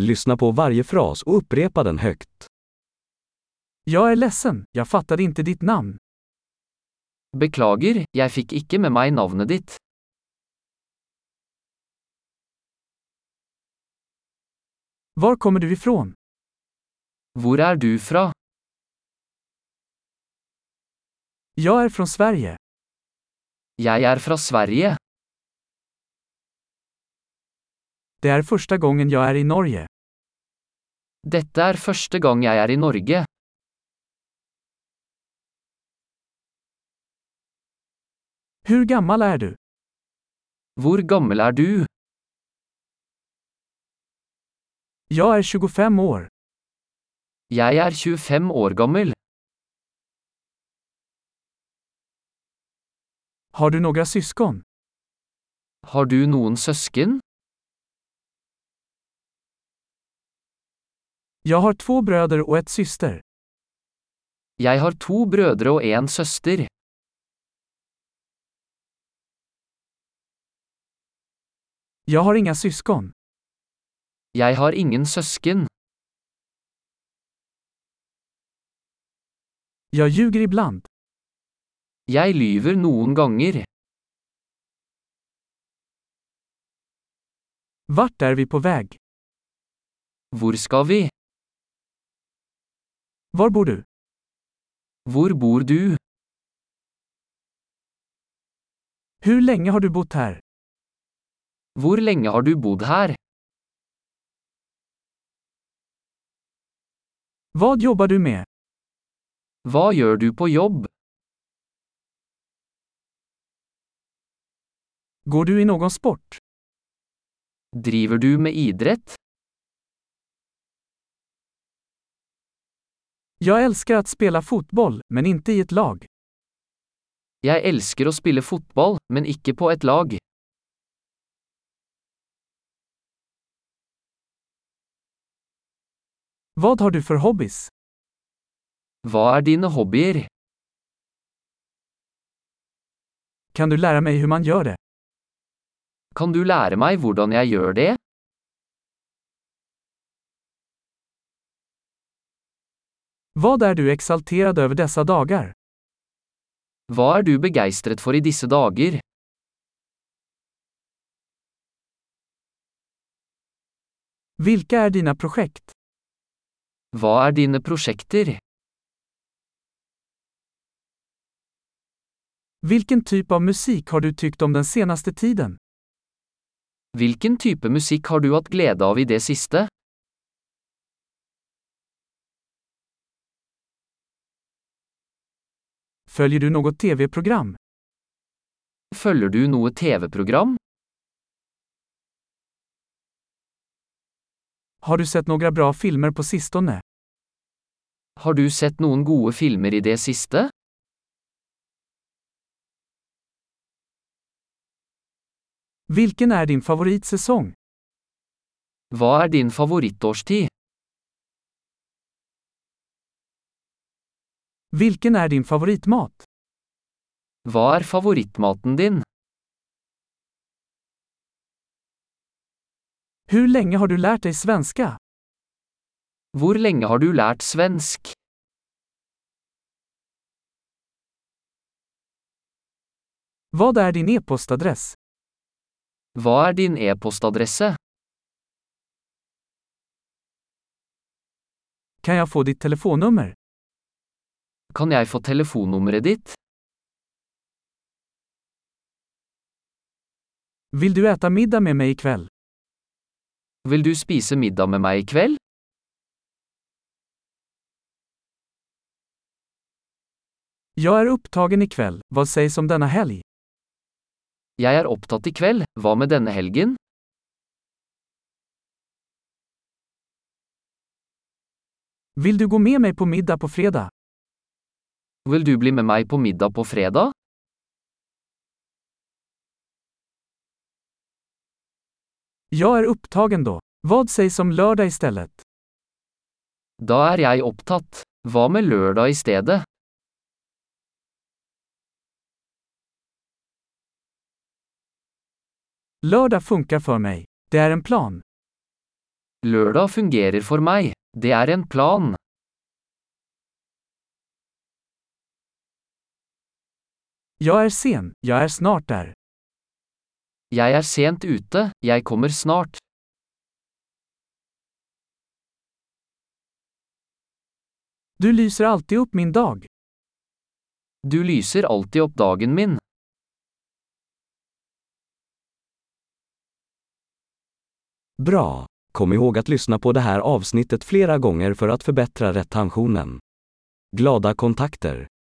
Lyssna på varje fras och upprepa den högt. Jag är ledsen, jag fattade inte ditt namn. Beklager, jeg fikk ikke med meg navnet ditt. Var kommer du ifrån? Hvor er du fra? Jag är från Sverige. Jeg er fra Sverige. Det är första gången jag är i Norge. Dette er første gang jeg er i Norge. Hur gammal är du? Hvor gammel er du? Jag är 25 år. Jeg er 25 år gammel. Har du några syskon? Har du noen søsken? Jag har två bröder och ett syster. Jeg har to brødre og en søster. Jag har inga syskon. Jeg har ingen søsken. Jag ljuger ibland. Jeg lyver noen ganger. Vart är vi på väg? Hvor skal vi? Var bor du? Hvor bor du? Hur länge har du bott här? Hvor lenge har du bodd her? Vad jobbar du med? Hva gjør du på jobb? Går du i någon sport? Driver du med idrett? Jag älskar att spela fotboll, men inte i ett lag. Jeg elsker å spille fotball, men ikke på et lag. Vad har du för hobbys? Hva er dine hobbyer? Kan du lära mig hur man gör det? Kan du lære meg hvordan jeg gjør det? Vad är du exalterad över dessa dagar? Hva er du begeistret for i disse dager? Vilka är dina projekt? Hva er dine prosjekter? Vilken typ av musik har du tyckt om den senaste tiden? Hvilken type musikk har du hatt glede av i det siste? Följer du något tv-program? Følger du noe TV-program? Har du sett några bra filmer på sistone? Har du sett noen gode filmer i det siste? Vilken är din favoritsäsong? Hva er din favorittårstid? Vilken är din favoritmat? Hva er favorittmaten din? Hur länge har du lärt dig svenska? Hvor lenge har du lært svensk? Vad är din e-postadress? Hva er din e-postadresse? Kan jag få ditt telefonnummer? Kan jeg få telefonnummeret ditt? Vill du äta middag med mig ikväll? Vil du spise middag med meg i kveld? Jag är upptagen ikväll, vad sägs om denna helg? Jeg er opptatt i kveld, hva med denne helgen? Vill du gå med mig på middag på fredag? Vil du bli med meg på middag på fredag? Jag är upptagen då. Vad sägs om lördag istället? Da er jeg opptatt. Hva med lørdag i stedet? Lördag funkar för mig. Det är en plan. Lørdag fungerer for meg. Det er en plan. Jag är sen, jag är snart där. Jeg er sent ute, jeg kommer snart. Du lyser alltid upp min dag. Du lyser alltid opp dagen min. Bra! Kom ihåg att lyssna på det här avsnittet flera gånger för att förbättra retentionen. Glada kontakter!